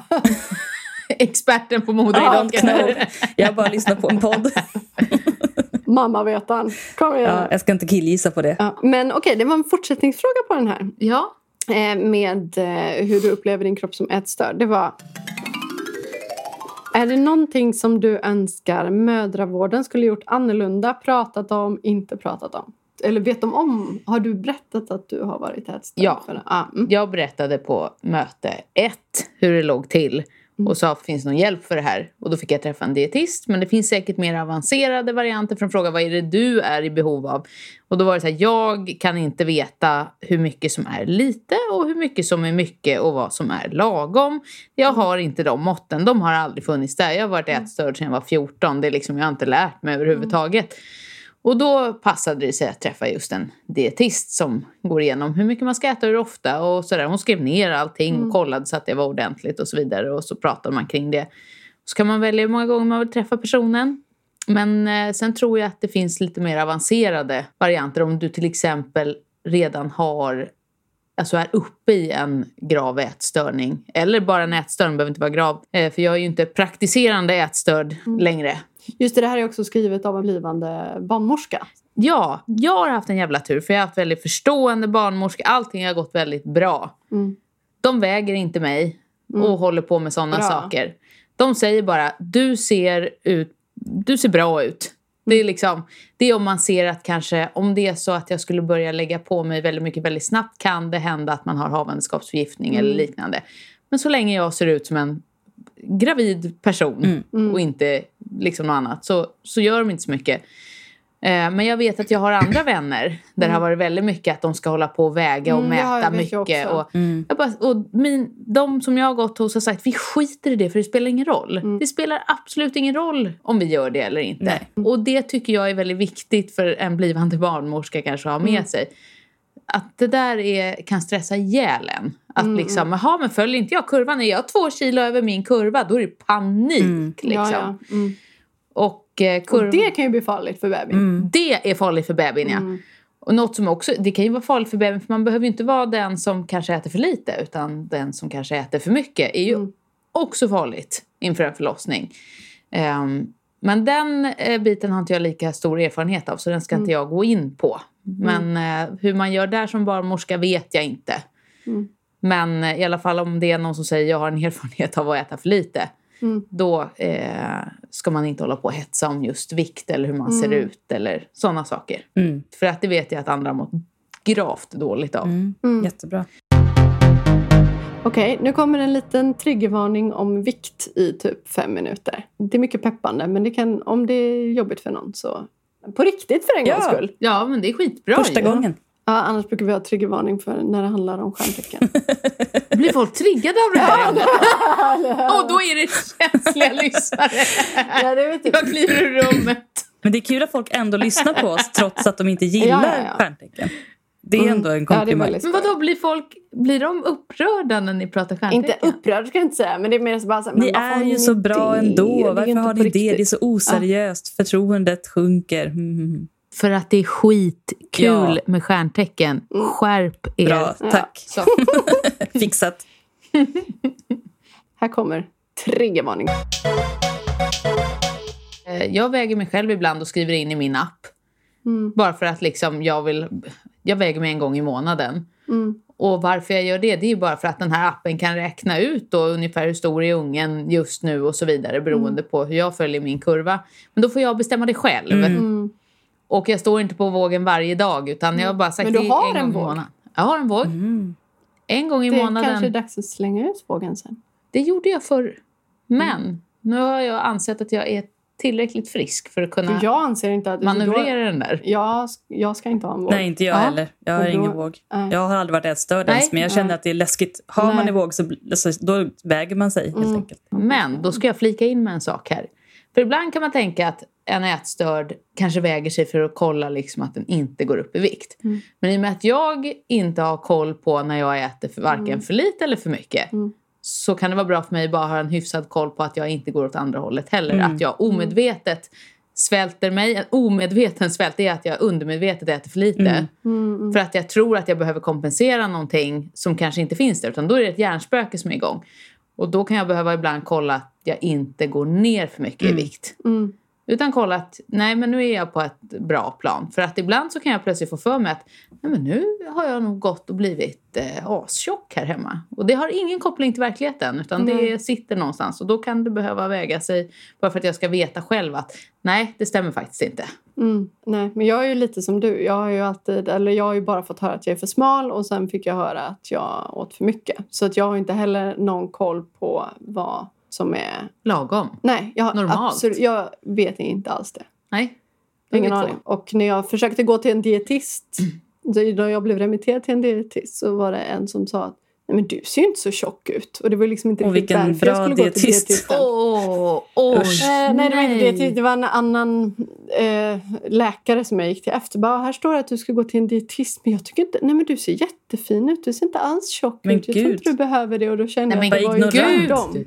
Experten på I don't moderkakan. know. Jag har bara lyssnat på en podd. Mamma vet han. Kom igen. Ja, jag ska inte killgissa på det. Ja, men okej, det var en fortsättningsfråga på den här. Ja. Eh, med eh, hur du upplever din kropp som ätstörd. Det var... Är det någonting som du önskar mödravården skulle gjort annorlunda, pratat om, inte pratat om? Eller vet de om? Har du berättat att du har varit ätstörd? Ja. För det? Ah, mm. Jag berättade på möte ett hur det låg till och sa finns det någon hjälp för det här? Och då fick jag träffa en dietist. Men det finns säkert mer avancerade varianter från fråga vad är det du är i behov av? Och då var det så här, jag kan inte veta hur mycket som är lite och hur mycket som är mycket och vad som är lagom. Jag har inte de måtten, de har aldrig funnits där. Jag har varit ätstörd sedan jag var 14, det är liksom, jag har inte lärt mig överhuvudtaget. Och då passade det sig att träffa just en dietist som går igenom hur mycket man ska äta och hur ofta och sådär. Hon skrev ner allting och kollade så att det var ordentligt och så vidare och så pratade man kring det. Så kan man välja hur många gånger man vill träffa personen. Men eh, sen tror jag att det finns lite mer avancerade varianter om du till exempel redan har alltså är uppe i en grav ätstörning. Eller bara en ätstörning, behöver inte vara grav. Eh, för jag är ju inte praktiserande ätstörd längre. Just det, det här är också skrivet av en blivande barnmorska. Ja, jag har haft en jävla tur för jag har haft väldigt förstående barnmorska. Allting har gått väldigt bra. Mm. De väger inte mig och håller på med sådana Bra. saker. De säger bara, du ser, ut, du ser bra ut. Det är, liksom, det är om man ser att kanske, om det är så att jag skulle börja lägga på mig väldigt mycket väldigt snabbt kan det hända att man har havandeskapsförgiftning eller liknande. Men så länge jag ser ut som en gravid person Mm. och inte liksom något annat så, så gör de inte så mycket. Eh, Men jag vet att jag har andra vänner där det har varit väldigt mycket att de ska hålla på och väga och Mm, det har- mäta vet jag mycket. också. Och, Mm. jag bara, och min, de som jag har gått hos har sagt vi skiter i det för det spelar ingen roll. Det spelar absolut ingen roll om vi gör det eller inte. Nej. Och det tycker jag är väldigt viktigt för en blivande barnmorska kanske att ha med sig. Att det där är, kan stressa ihjäl en. Att liksom, jaha men följer inte jag kurvan, är jag två kilo över min kurva då är det panik. Liksom. Ja, ja. Mm. Och eh, kurv... Mm. Och det kan ju bli farligt för bebisen. Mm. det är farligt för bebisen, Mm, ja. Och något som också, det kan ju vara farligt för bebisen för man behöver ju inte vara den som kanske äter för lite utan den som kanske äter för mycket är ju Mm. också farligt inför en förlossning. Ehm, men den eh, biten har inte jag lika stor erfarenhet av så den ska Mm. inte jag gå in på. Men eh, hur man gör där som barnmorska vet jag inte. Mm. Men eh, i alla fall om det är någon som säger jag har en erfarenhet av att äta för lite Mm. då eh, ska man inte hålla på och hetsa om just vikt eller hur man ser Mm. ut eller sådana saker. Mm. För att det vet jag att andra har mått gravt dåligt av. Mm. Mm. Jättebra. Okej, nu kommer en liten triggervarning om vikt i typ fem minuter. Det är mycket peppande, men det kan, om det är jobbigt för någon så... På riktigt för en Ja. gångs skull. Ja, men det är skitbra Första ju. gången. Ja, annars brukar vi ha triggervarning för när det handlar om stjärntecken. Blir folk triggade av det här? och då är det känsliga lyssnare. ja, det vet Jag kliver ur rummet. Men det är kul att folk ändå lyssnar på oss trots att de inte gillar Ja, ja, ja. stjärntecken. Det är Mm. ändå en Ja, det är komplimang. väldigt Men skoj. vadå, blir folk blir de upprörda när ni pratar stjärntecken? Inte upprörd ska jag inte säga, men det är mer så bara så här, ni men varför är har ju så det? bra Det är ändå. ju Varför inte har på ni det? Det är riktigt. så oseriöst. Förtroendet sjunker. Mm. För att det är skitkul Ja. med stjärntecken. Skärp er. Bra, Ja. tack. Så. Fixat. Här kommer triggervarning. Eh, Jag väger mig själv ibland och skriver in i min app. Mm, Bara för att liksom jag vill... Jag väger mig en gång i månaden. mm, Och varför jag gör det, det är ju bara för att den här appen kan räkna ut då ungefär hur stor är ungen just nu och så Mm. vidare beroende på hur jag följer min kurva. Men då får jag bestämma det själv. mm. Och jag står inte på vågen varje dag utan jag har bara sagt Men du det har en, en gång i våg? månaden. Jag har en våg. Mm. En gång i Det månaden. kanske Mm. är dags att slänga ut vågen sen. Det gjorde jag förr. Men nu har jag ansett att jag är tillräckligt frisk för att kunna För jag anser inte att... manövrera den där. Jag, jag ska inte ha en våg. Nej, inte jag Ja. heller. Jag har Och då- ingen våg. Nej. Jag har aldrig varit ätstörd Nej. ens, men jag känner Nej. att det är läskigt. Har man Nej. en våg så, så då väger man sig helt Mm. enkelt. Men då ska jag flika in med en sak här. För ibland kan man tänka att en ätstörd kanske väger sig för att kolla liksom att den inte går upp i vikt. Mm. Men i och med att jag inte har koll på när jag äter för varken Mm. för lite eller för mycket Mm. så kan det vara bra för mig att bara ha en hyfsad koll på att jag inte går åt andra hållet heller. Mm. Att jag omedvetet svälter mig. En omedveten svält är att jag undermedvetet äter för lite. Mm. Mm, mm. För att jag tror att jag behöver kompensera någonting som kanske inte finns där. Utan då är det ett hjärnspöke som är igång. Och då kan jag behöva ibland kolla att jag inte går ner för mycket Mm. i vikt. Mm. Utan kolla att nej men nu är jag på ett bra plan. För att ibland så kan jag plötsligt få för mig att nej men nu har jag nog gått och blivit eh, astjock här hemma. Och det har ingen koppling till verkligheten utan det Nej. sitter någonstans. Och då kan det behöva väga sig bara för att jag ska veta själv att nej det stämmer faktiskt inte. Mm, nej, men jag är ju lite som du. Jag har ju alltid, eller jag har ju bara fått höra att jag är för smal och sen fick jag höra att jag åt för mycket. Så att jag har inte heller någon koll på vad som är... Lagom. Nej, jag, har Normalt. Absolut, jag vet inte alls det. Nej. Då är vi Ingen två. aning. Och när jag försökte gå till en dietist, då då jag blev remitterad till en dietist så var det en som sa att Nej, men du ser ju inte så tjock ut. Och det var liksom inte Och riktigt vilken därför jag bra skulle gå till dietist. dietisten. Åh, oj. Usch. Eh, nej, det var inte det. Ty- Det var en annan eh, läkare som jag gick till efter. Bara, här står det att du ska gå till en dietist. Men jag tycker inte... Nej, men du ser jättefin ut. Du ser inte alls tjock Men ut. Jag tror gud. inte du behöver det. Och då kände Nej, typ. jag att men det var ju gud. tvärtom.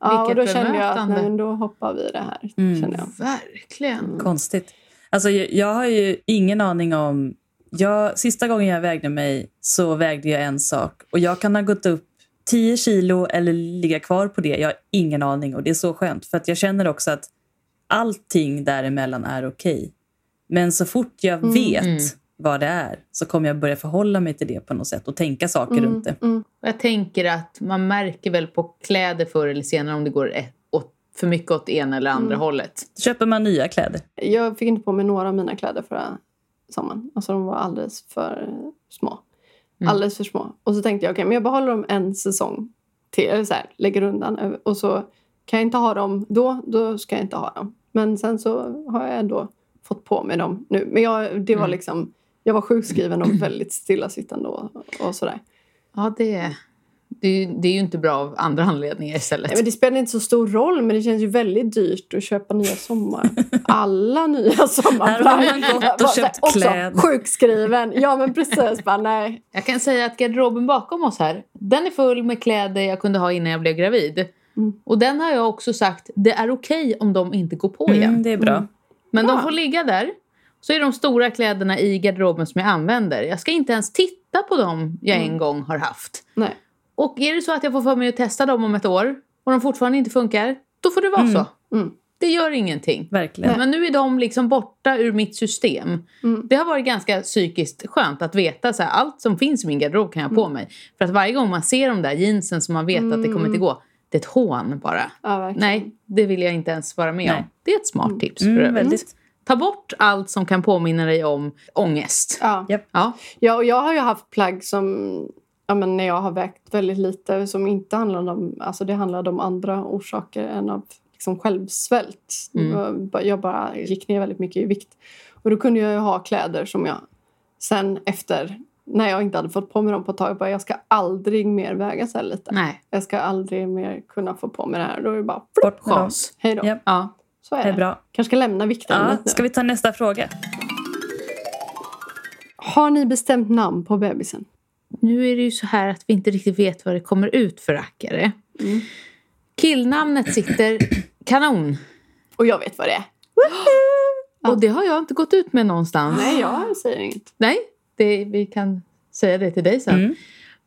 Ja, och då Vilket kände jag att bemötande. nej, men då hoppar vi det här. Mm. Kände jag. Verkligen. Konstigt. Alltså, jag, jag har ju ingen aning om... Jag, sista gången jag vägde mig så vägde jag en sak. Och Jag kan ha gått upp 10 kilo eller ligga kvar på det. Jag har ingen aning. Och Det är så skönt. För att Jag känner också att allting däremellan är okej. Men så fort jag Mm. vet Mm. vad det är så kommer jag börja förhålla mig till det på något sätt och tänka saker runt det. Mm. Och Jag tänker att man märker väl på kläder förr eller senare om det går ett, åt, för mycket åt ena eller andra Mm. hållet. Då köper man nya kläder. Jag fick inte på mig några av mina kläder förra sommaren. Alltså de var alldeles för små. Mm. Alldeles för små. Och så tänkte jag, okej, men jag behåller dem en säsong till. Eller så här, lägger undan. över- Och så kan jag inte ha dem då, då ska jag inte ha dem. Men sen så har jag ändå fått på mig dem nu. Men jag, det var Mm. liksom, jag var sjukskriven och väldigt stillasittande och, och sådär. Ja, det, det, är ju- det är ju inte bra av andra anledningar istället. Nej, men det spelar inte så stor roll, men det känns ju väldigt dyrt att köpa nya sommar. Alla nya sommarplagg. Här har man gått och köpt Också kläder. sjukskriven. Ja, men precis. Bara, nej. Jag kan säga att garderoben bakom oss här, den är full med kläder jag kunde ha innan jag blev gravid. Mm. Och den har jag också sagt, det är okej om de inte går på igen. Mm, det är bra. Men Bra. de får ligga där. så är de stora kläderna i garderoben som jag använder. Jag ska inte ens titta på dem jag en gång har haft. Nej. Och är det så att jag får för mig att testa dem om ett år och de fortfarande inte funkar, då får det vara så. Mm. Det gör ingenting. Verkligen. Men nu är de liksom borta ur mitt system. Mm. Det har varit ganska psykiskt skönt att veta så här, allt som finns i min garderob kan jag ha på mig. För att varje gång man ser de där jeansen som man vet att det kommer inte gå, det är ett hån bara. Ja, verkligen. Nej, det vill jag inte ens vara med Nej. om. Det är ett smart tips för Mm, övrigt. väldigt. Ta bort allt som kan påminna dig om ångest. Ja. Ja. Ja. ja, och jag har ju haft plagg som... Ja, men när jag har vägt väldigt lite som inte handlade om... Alltså det handlade om andra orsaker än av liksom självsvält. Mm. Jag- Jag bara gick ner väldigt mycket i vikt. Och då kunde jag ju ha kläder som jag sen efter... När jag inte hade fått på mig dem på ett tag, bara jag ska aldrig mer väga så här lite. Nej, Jag ska aldrig mer kunna få på mig det här. Då är det bara Bort med dem. chans. hej då. Ja. Ja. Så är Det det. är bra. Kanske ska lämna viktämnet Ja, nu. ska vi ta nästa fråga? Har ni bestämt namn på bebisen? Nu är det ju så här att vi inte riktigt vet vad det kommer ut för rackare. Mm. Killnamnet sitter kanon. Och jag vet vad det är. Och det har jag inte gått ut med Ah. någonstans. Nej, jag säger inget. Nej, det, vi kan säga det till dig sen. Mm.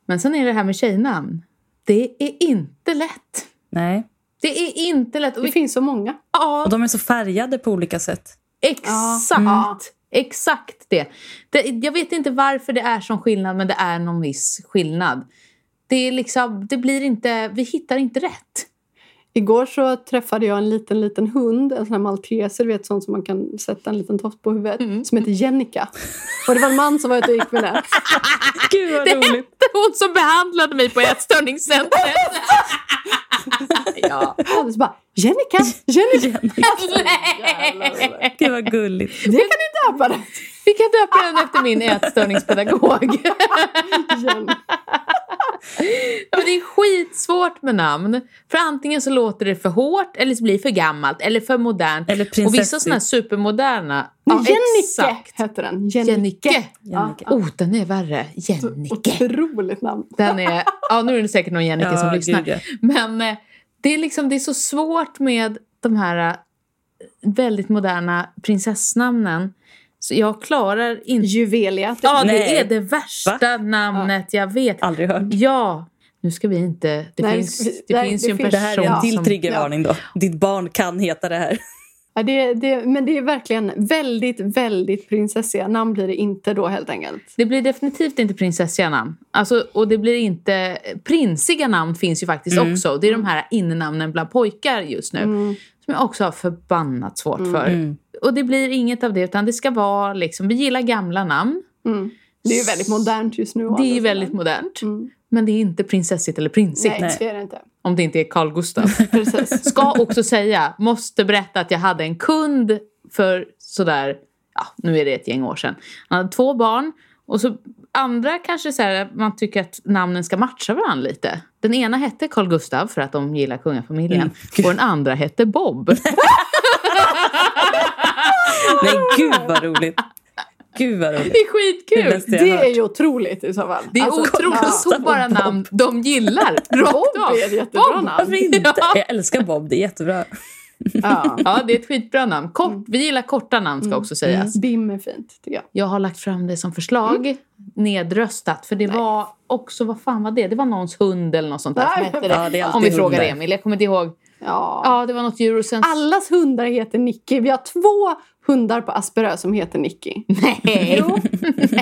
Men sen är det här med tjejnamn. Det är inte lätt. Nej. Det är inte lätt. Och Det vi, finns så många. ja, Och de är så färgade på olika sätt. Exakt! Ja. Exakt det. det. Jag vet inte varför det är sån skillnad, men det är någon viss skillnad. Det är liksom, det blir inte, vi hittar inte rätt. Igår så träffade jag en liten, liten hund, en sån här malteser, du vet sån som man kan sätta en liten toft på huvudet, Mm. som heter Jennica. Och det var en man som var ute och gick med den. Gud vad roligt! Det är hon som behandlade mig på ätstörningscentret. ja. Och så bara, Jennica! Jennica! Nej. Gud vad gulligt. Det kan du döpa den Vi kan döpa den efter min ätstörningspedagog. Jen. Ja, men det är skitsvårt med namn. För antingen så låter det för hårt, eller så blir det för gammalt, eller för modernt. Eller Och vissa prinsessigt. sådana här supermoderna. Ja, Jennike exakt. heter den. Jennike. Jennike. Jannike. Oh, den är värre. Jennike. Otroligt namn. Den är, ja, nu är det säkert någon Jennike som Ja, lyssnar. gud, ja. Men eh, det är, liksom, det är så svårt med de här eh, väldigt moderna prinsessnamnen. Så jag klarar inte... Juvelia. typ. Ja, Nej. det är det värsta namnet jag vet. Aldrig hört. Ja. Nu ska vi inte... Det Nej, finns, vi- det nej, finns det ju en person finns- Det här är en till som... triggervarning då. Ditt barn kan heta det här. Ja, det, det, men det är verkligen väldigt, väldigt prinsessiga namn blir det inte då helt enkelt. Det blir definitivt inte prinsessiga namn. Alltså, och det blir inte... Prinsiga namn finns ju faktiskt också. Det är de här innamnen bland pojkar just Mm. nu. Som jag också har förbannat svårt för. Mm. Och det blir inget av det, utan det ska vara liksom... Vi gillar gamla namn. Mm. Det är ju väldigt modernt just nu. å Det är andra ju sidan. väldigt modernt. Mm. Men det är inte prinsessigt eller prinsigt. Nej, det är det inte. Om det inte är Carl Gustaf. Precis. Ska också säga, måste berätta att jag hade en kund för sådär, ja nu är det ett gäng år sedan. Han hade två barn. Och så andra kanske så här, man tycker att namnen ska matcha varandra lite. Den ena hette Carl Gustav för att de gillar kungafamiljen. Mm. Och den andra hette Bob. Nej, gud vad roligt. Gud vad roligt. Det är Det är skitkul! bäst jag Det har är hört. ju otroligt i så fall. Det är Alltså, otroligt ja. så bara namn de gillar. Rakt Bob av. är ett jättebra Bob. namn. Varför inte? Ja. Jag älskar Bob, det är jättebra. Ja. Ja, det är ett skitbra namn. Kort, vi gillar korta namn ska också sägas. Bim är fint tycker jag. Jag har lagt fram det som förslag, nedröstat. För det var också, vad fan var det? Det var någons hund eller något sånt där som Nej, hette det. Ja, det är alltid Om vi hundar. frågar Emil, jag kommer inte ihåg. Ja. Ja, det var något djur och sen... Allas hundar heter Nicky. Vi har två hundar på Asperö som heter Nicky. Nej! Jo,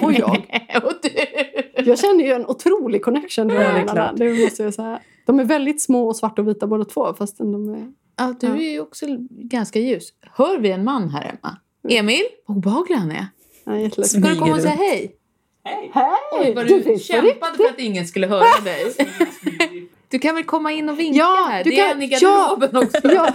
och jag. och du! Jag känner ju en otrolig connection till Ja, det är hundarna. klart. Det måste jag säga. De är väldigt små och svarta och vita båda två fastän de är... Ja, du är ju också ganska ljus. Hör vi en man här hemma? Emil, vad obehaglig han är. Ja, jätteläskiga. Ska du komma och säga hej? Hej! Vad Du du finns på riktigt. kämpade för att ingen skulle höra dig. Du kan väl komma in och vinka Ja, här? du det är kan- en i garderoben också. Ja,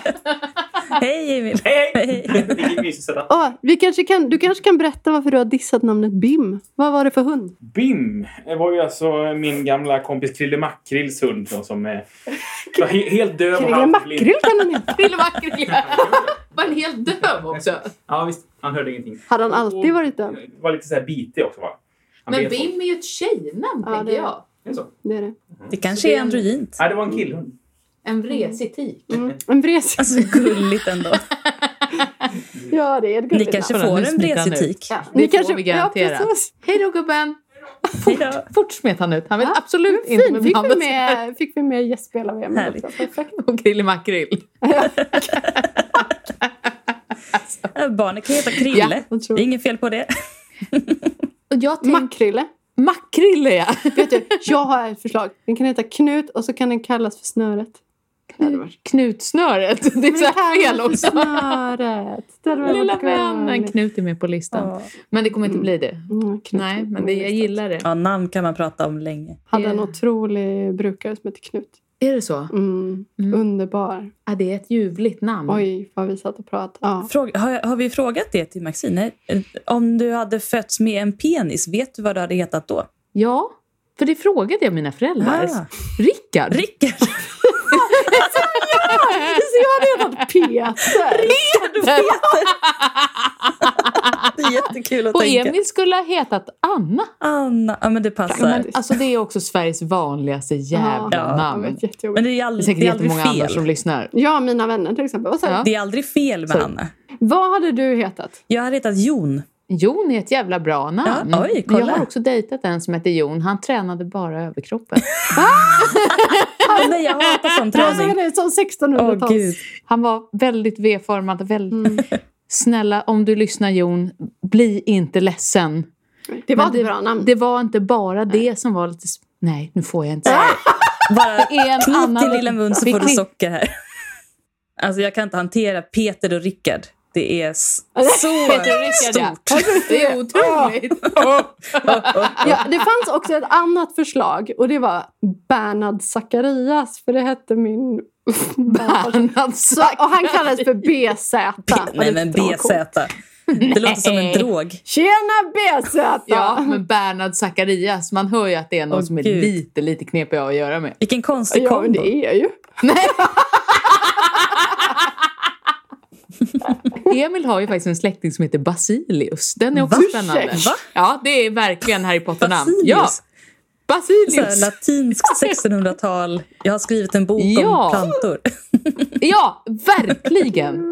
Hej Emil! Hej! Det gick mysigt sådär. ja, vi kanske kan, du kanske kan berätta varför du har dissat namnet Bim. Vad var det för hund? Bim var ju alltså min gamla kompis Krille Makrills hund då, som eh, var he- helt döv. och Krille halvblind. Makrill kan han heta. Krille Mackrille. Var han helt döv också? Ja visst, han hörde ingenting. Hade han alltid varit döv? Och Var lite så här bitig också va? Han Men bet folk. Bim är ju ett tjejnamn, Ja, det tänker är- jag. Är det så? Det är det. Det kanske är androgynt. Nej, det var en killhund. En vresig tik. Mm. En vresig. Alltså gulligt ändå. Ja, det är ett Ni gulligt kanske Kolla, får nu en smiter han bresetik. Ja, namn. det får vi Ja, garanterat. precis. Hej då gubben! Hej då. Fort smet han ut. Han vill Ja, absolut Fint, inte fick bli vi blandad med, fick vi med gästspelar-VM Härligt. också. Perfekt. på Krille Makrill. Äh, Barnet kan heta Krille. jag tror- det är inget fel på det. Och jag tänk- Makrille. Makrille ja! Vet du, jag har ett förslag. Den kan heta Knut och så kan den kallas för Snöret. Mm. Det hade varit- Knutsnöret. Det är så här fel också. Snöret. Det hade varit Lilla skön. vännen. Knut är med på listan. Men det kommer inte bli det. Mm, Knut. Nej, men det, jag gillar det. Ja, namn kan man prata om länge. Hade en det. otrolig brukare som hette Knut. Är det så? Mm. Mm. Underbar. Ja, det är ett ljuvligt namn. Oj, vad vi satt och pratade. Ja. Fråga, har, jag- har vi frågat det till Maxine? Nej. Eh, Om du hade fötts med en penis, vet du vad du hade hetat då? Ja, för det frågade jag mina föräldrar. Ah. Rickard! Rickard! Så jag hade redan Peter. Det är jättekul att och tänka. Emil skulle ha hetat Anna. Anna. Ja, men det passar. Alltså det är också Sveriges vanligaste jävla Ah. Ja, Jag namn. vet, jättejobbigt. Men det är, Det är aldrig, säkert det är aldrig jättemånga andra som fel. lyssnar. Ja, mina vänner till exempel. Vad, sa Ja. du? Det är aldrig fel med Så- Anna. vad hade du hetat? Jag hade hetat Jon. Jon är ett jävla bra namn. Ja, oj, kolla. Jag har också dejtat en som heter Jon. Han tränade bara överkroppen. Åh nej, jag hatar sån Träning. träning. Det är som Åh 1600-tals. gud. Han var väldigt V-formad. Väldigt... Mm. Snälla, om du lyssnar Jon, bli inte ledsen. Det var Men ett bra namn. Det var inte bara det som var lite... s- Nej, nu får jag inte säga. Bara Det är en knip annan... din lilla mun så Vi får du knipp- socker här. Alltså jag kan inte hantera Peter och Rickard. Det är s- så Alltså, Peter och Rickard, ja. Alltså, stort. Det är otroligt. Ja, det fanns också ett annat förslag och det var Bernhard Zacharias för det hette min... Bernhard Så, och han kallades för BZ. P- Nej men BZ. Det låter som en drog. Tjena BZ! Ja, men Bernhard Zacharias. Man hör ju att det är någon Åh, som är Gud. lite, lite knepig att göra med. Vilken konstig ja, men kombo. det är ju. Emil har ju faktiskt en släkting som heter Basilius. Den är också Va? spännande. Va? Ja, det är verkligen Harry Potter-namn. Basilius. Ja, Så här, Basilius. latinskt 1600-tal. Jag har skrivit en bok Ja. om plantor. Ja, verkligen.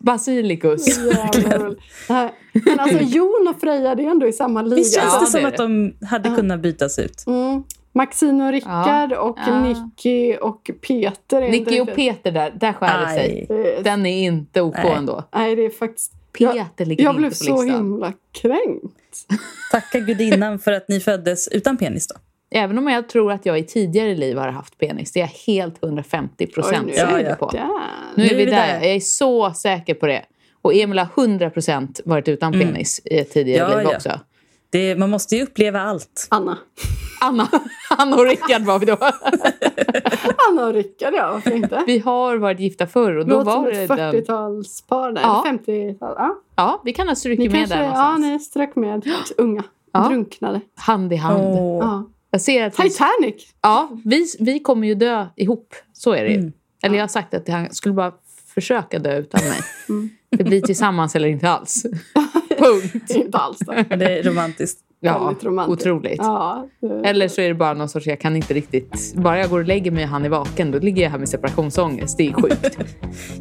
Basilikus. Jävlar. Nej, Men alltså Jon och Freja, det är ändå i samma liga. Visst känns Ja, det det som är att de hade kunnat bytas ut? Mm. Maxine och Rickard och Ja. Nicky och Peter. är inte Nicky och riktigt- Peter där, där skär det sig. Aj. Eh, Den är inte OK Nej. ändå. Nej, det är faktiskt... Jag, Peter ligger jag blev inte på så listan. himla kränkt. Tacka gudinnan för att ni föddes utan penis då. Även om jag tror att jag i tidigare liv har haft penis. Det är jag helt 150 procent Oj, nu är säker vi på. Där. Nu är vi där. Jag är så säker på det. Och Emil har 100 procent varit utan Mm. penis i ett tidigare Ja, liv ja. också. Det, man måste ju uppleva allt. Anna. Anna, Anna och Rickard var vi då. Anna och Rickard, ja. Varför inte? Vi har varit gifta förr och då Låter som var det ett den... 40-talspar där. Ja. 50-tal. Ja. Ja, vi kan ha Ni strukit med kanske... där Ja, någonstans. ni strök med. Unga. Ja. Drunknade. Hand i hand. Åh. Ja. Jag ser att vi, Titanic! ja, vi, vi kommer ju dö ihop. Så är det ju. Mm. Eller jag har sagt att han skulle bara försöka dö utan mig. Mm. Det blir tillsammans eller inte alls. Punkt. Det är inte alls det. Det är romantiskt. Ja, Väldigt romantiskt. otroligt. Ja. det- Eller så är det bara någon sorts, jag kan inte riktigt... Bara jag går och lägger mig och han är vaken, då ligger jag här med separationsångest. Det är sjukt.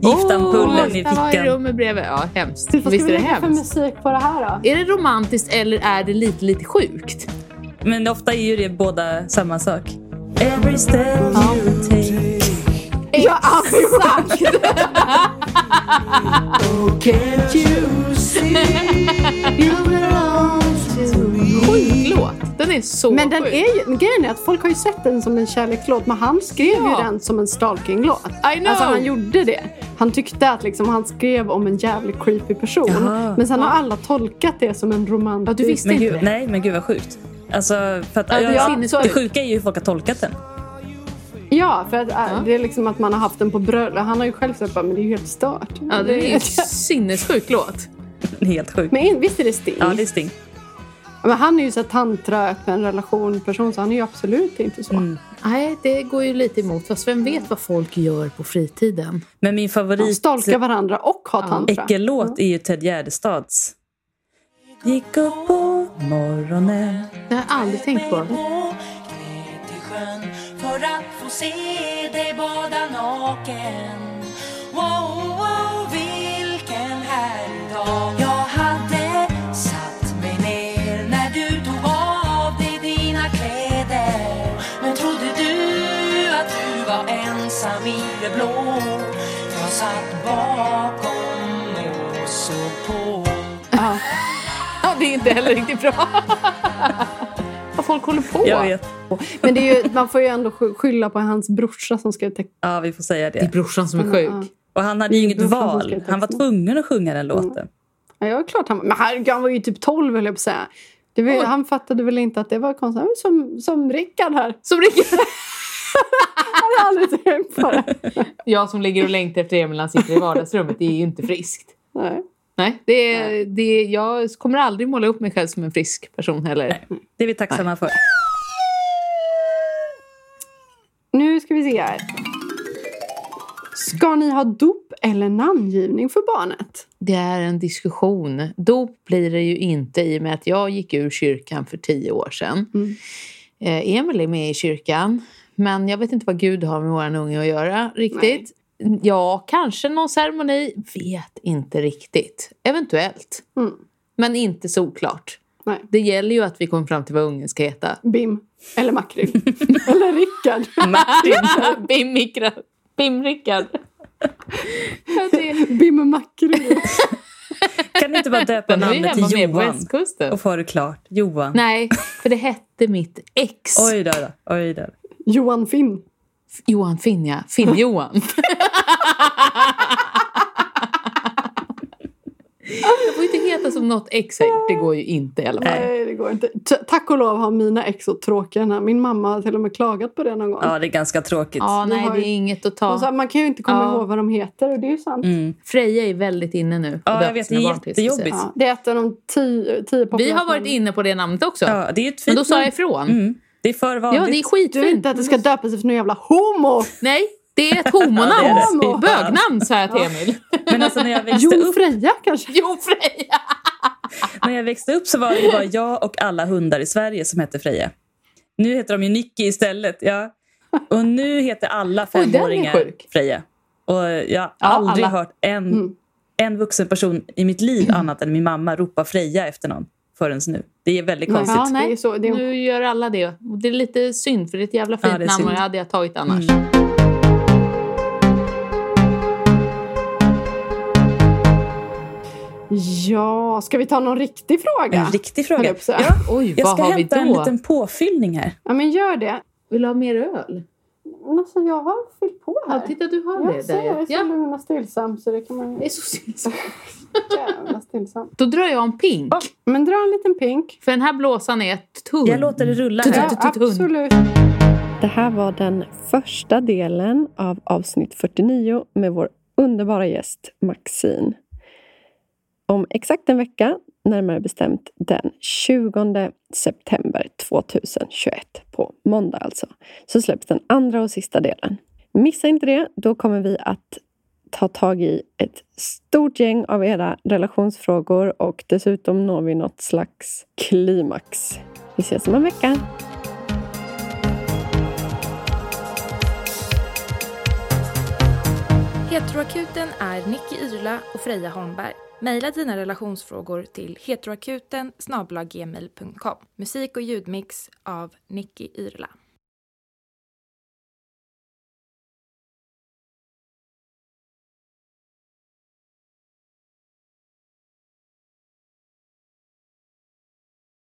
Giftampullen i Där var i fickan. rummet bredvid. Ja, hemskt. Vad ska Visst är vi det lägga för hemskt? musik på det här då? Är det romantiskt eller är det lite, lite sjukt? Men ofta är ju det båda samma sak. Every step you take Ja, alltså, absolut! Sjuk låt. Den är så Mm. Men den sjuk. är ju, men grejen är att folk har ju sett den som en kärlekslåt, men han skrev Ja. ju den som en stalkinglåt. I know. Alltså han gjorde det. Han tyckte att liksom, han skrev om en jävligt creepy person. Jaha. Men sen har alla tolkat det som en romantisk... Ja, du visste Men inte gud, det. nej, men gud vad sjukt. Alltså, för att, Ja, det är ja, sinnessjukt. det sjuka är ju hur folk har tolkat den. Ja, för att, äh, det är liksom att man har haft den på bröllop. Han har ju själv sagt bara, men det är ju helt stört. Ja, det är ju en sinnessjuk låt. Det är Helt sjukt. Men in- visst är det Sting? Ja, det är Sting. Men han är ju så här tantra, öppen relation person, så han är ju absolut inte så. Mm. Nej, det går ju lite emot. Fast vem vet vad folk gör på fritiden? Men min De favorit stalkar varandra och har Ja. tantra. äckellåt är ju Ted Gärdestads. Gick upp på morgonen Det har jag aldrig tänkt på. haven för att få se dig bada naken. Wow, wow, vilken härlig dag. Jag hade satt mig ner när du tog av dig dina kläder. Men trodde du att du var ensam i det blå? Jag satt bakom och såg på. Ja, det är inte heller riktigt bra. Vad folk håller på. Jag vet. Men det är ju, man får ju ändå sky- skylla på hans brorsa som ska täcka Ja, vi får säga Det är det. brorsan som är sjuk. Ja. Och han hade ju inget brorsan som ska val. texta. Han var tvungen att sjunga den Mm. låten. Ja, jag är klart han var. Men herregud, han var ju typ 12 höll jag på att säga. Det var, ju- Oj. han fattade väl inte att det var konstigt. Han var Som, som Rickard här. Som ligger, Han hade aldrig tänkt på det. jag som ligger och längtar efter Emil när han sitter i vardagsrummet. Det är ju inte friskt. Nej. Nej, det är, det är, jag kommer aldrig måla upp mig själv som en frisk person heller. Det är vi tacksamma för. Nu ska vi se här. Ska ni ha dop eller namngivning för barnet? Det är en diskussion. Dop blir det ju inte i och med att jag gick ur kyrkan för tio år sedan. Mm. Eh, Emil är med i kyrkan, men jag vet inte vad Gud har med våran unge att göra riktigt. Ja, kanske någon ceremoni. Vet inte riktigt. Eventuellt. Mm. Men inte såklart. Nej. Det gäller ju att vi kommer fram till vad ungen ska heta. Bim. Eller Makrill. eller Rickard. Bim-Rickard. Bim-Rickard. Bim Makrill. Kan du inte bara döpa Den är ju namnet hemma till med på Johan? västkusten. Och få det klart. Johan. Nej, för det hette mitt ex. Oj då, då. Oj då. Johan Finn. Johan Finn, ja. Finn-Johan. Jag får ju inte heta som något ex har gjort. Det går ju inte i alla fall. Nej, det går inte. T- tack och lov har mina ex så tråkiga namn. Min mamma har till och med klagat på det någon gång. Ja, det är ganska tråkigt. Ja, Vi nej, har det ju- är inget att Hon sa, ta. man kan ju inte komma Ja. ihåg vad de heter och det är ju sant. Mm. Freja är väldigt inne nu. och Ja, jag döpt vet, sina det är barn till, ska jag säga. jättejobbigt. Ja, det är ett av de tio, tio Vi populära har varit namnen. inne på det namnet också. Ja, det är ett fint Men då sa jag namn. ifrån. Mm. Det är för vanligt. Ja, det är Du vill skitfint. inte att det ska döpas efter någon jävla homo! Nej, det är ett Ja, det homonamn. är det. Bögnamn, sa jag till Emil. Men alltså när jag växte Jo, upp Freja kanske? Jo, Freja! När jag växte upp så var det ju bara jag och alla hundar i Sverige som hette Freja. Nu heter de ju Nicky istället. Ja. Och nu heter alla den är femåringar sjuk. Freja. Och jag har Ja, aldrig alla. Mm. hört en, en vuxen person i mitt liv annat än min mamma ropa Freja efter någon förrän nu. Det är väldigt konstigt. Ja, Det är nej. så- det är- Nu gör alla det. Och Det är lite synd, för det är ett jävla Ja, fint det är namn och synd. det hade jag tagit annars. Ja, ska vi ta någon riktig fråga? En riktig fråga. Höll jag på att Ja, säga. Oj, jag vad ska har vi hämta en då? liten påfyllning här. Ja, men gör det. Vill du ha mer öl? Men Alltså, jag har fyllt på här. Ja, titta du har det jag ser, där. jag är ja. så Ja. lugn och stillsam så det kan man Det ju... är så synd. Jävla stillsam. Då drar jag en pink. Ja, men dra en liten pink. För den här blåsan är tunn. Jag låter det rulla här. Ja, typ absolut. Det här var den första delen av avsnitt 49 med vår underbara gäst Maxine. Om exakt en vecka, närmare bestämt den 20 september 2021, på måndag alltså, så släpps den andra och sista delen. Missa inte det, då kommer vi att ta tag i ett stort gäng av era relationsfrågor och dessutom når vi något slags klimax. Vi ses om en vecka! Heteroakuten är Nicky Irla och Freja Holmberg. Maila dina relationsfrågor till heteroakuten snabel-a gmail punkt com. Musik och ljudmix av Nicky Irla.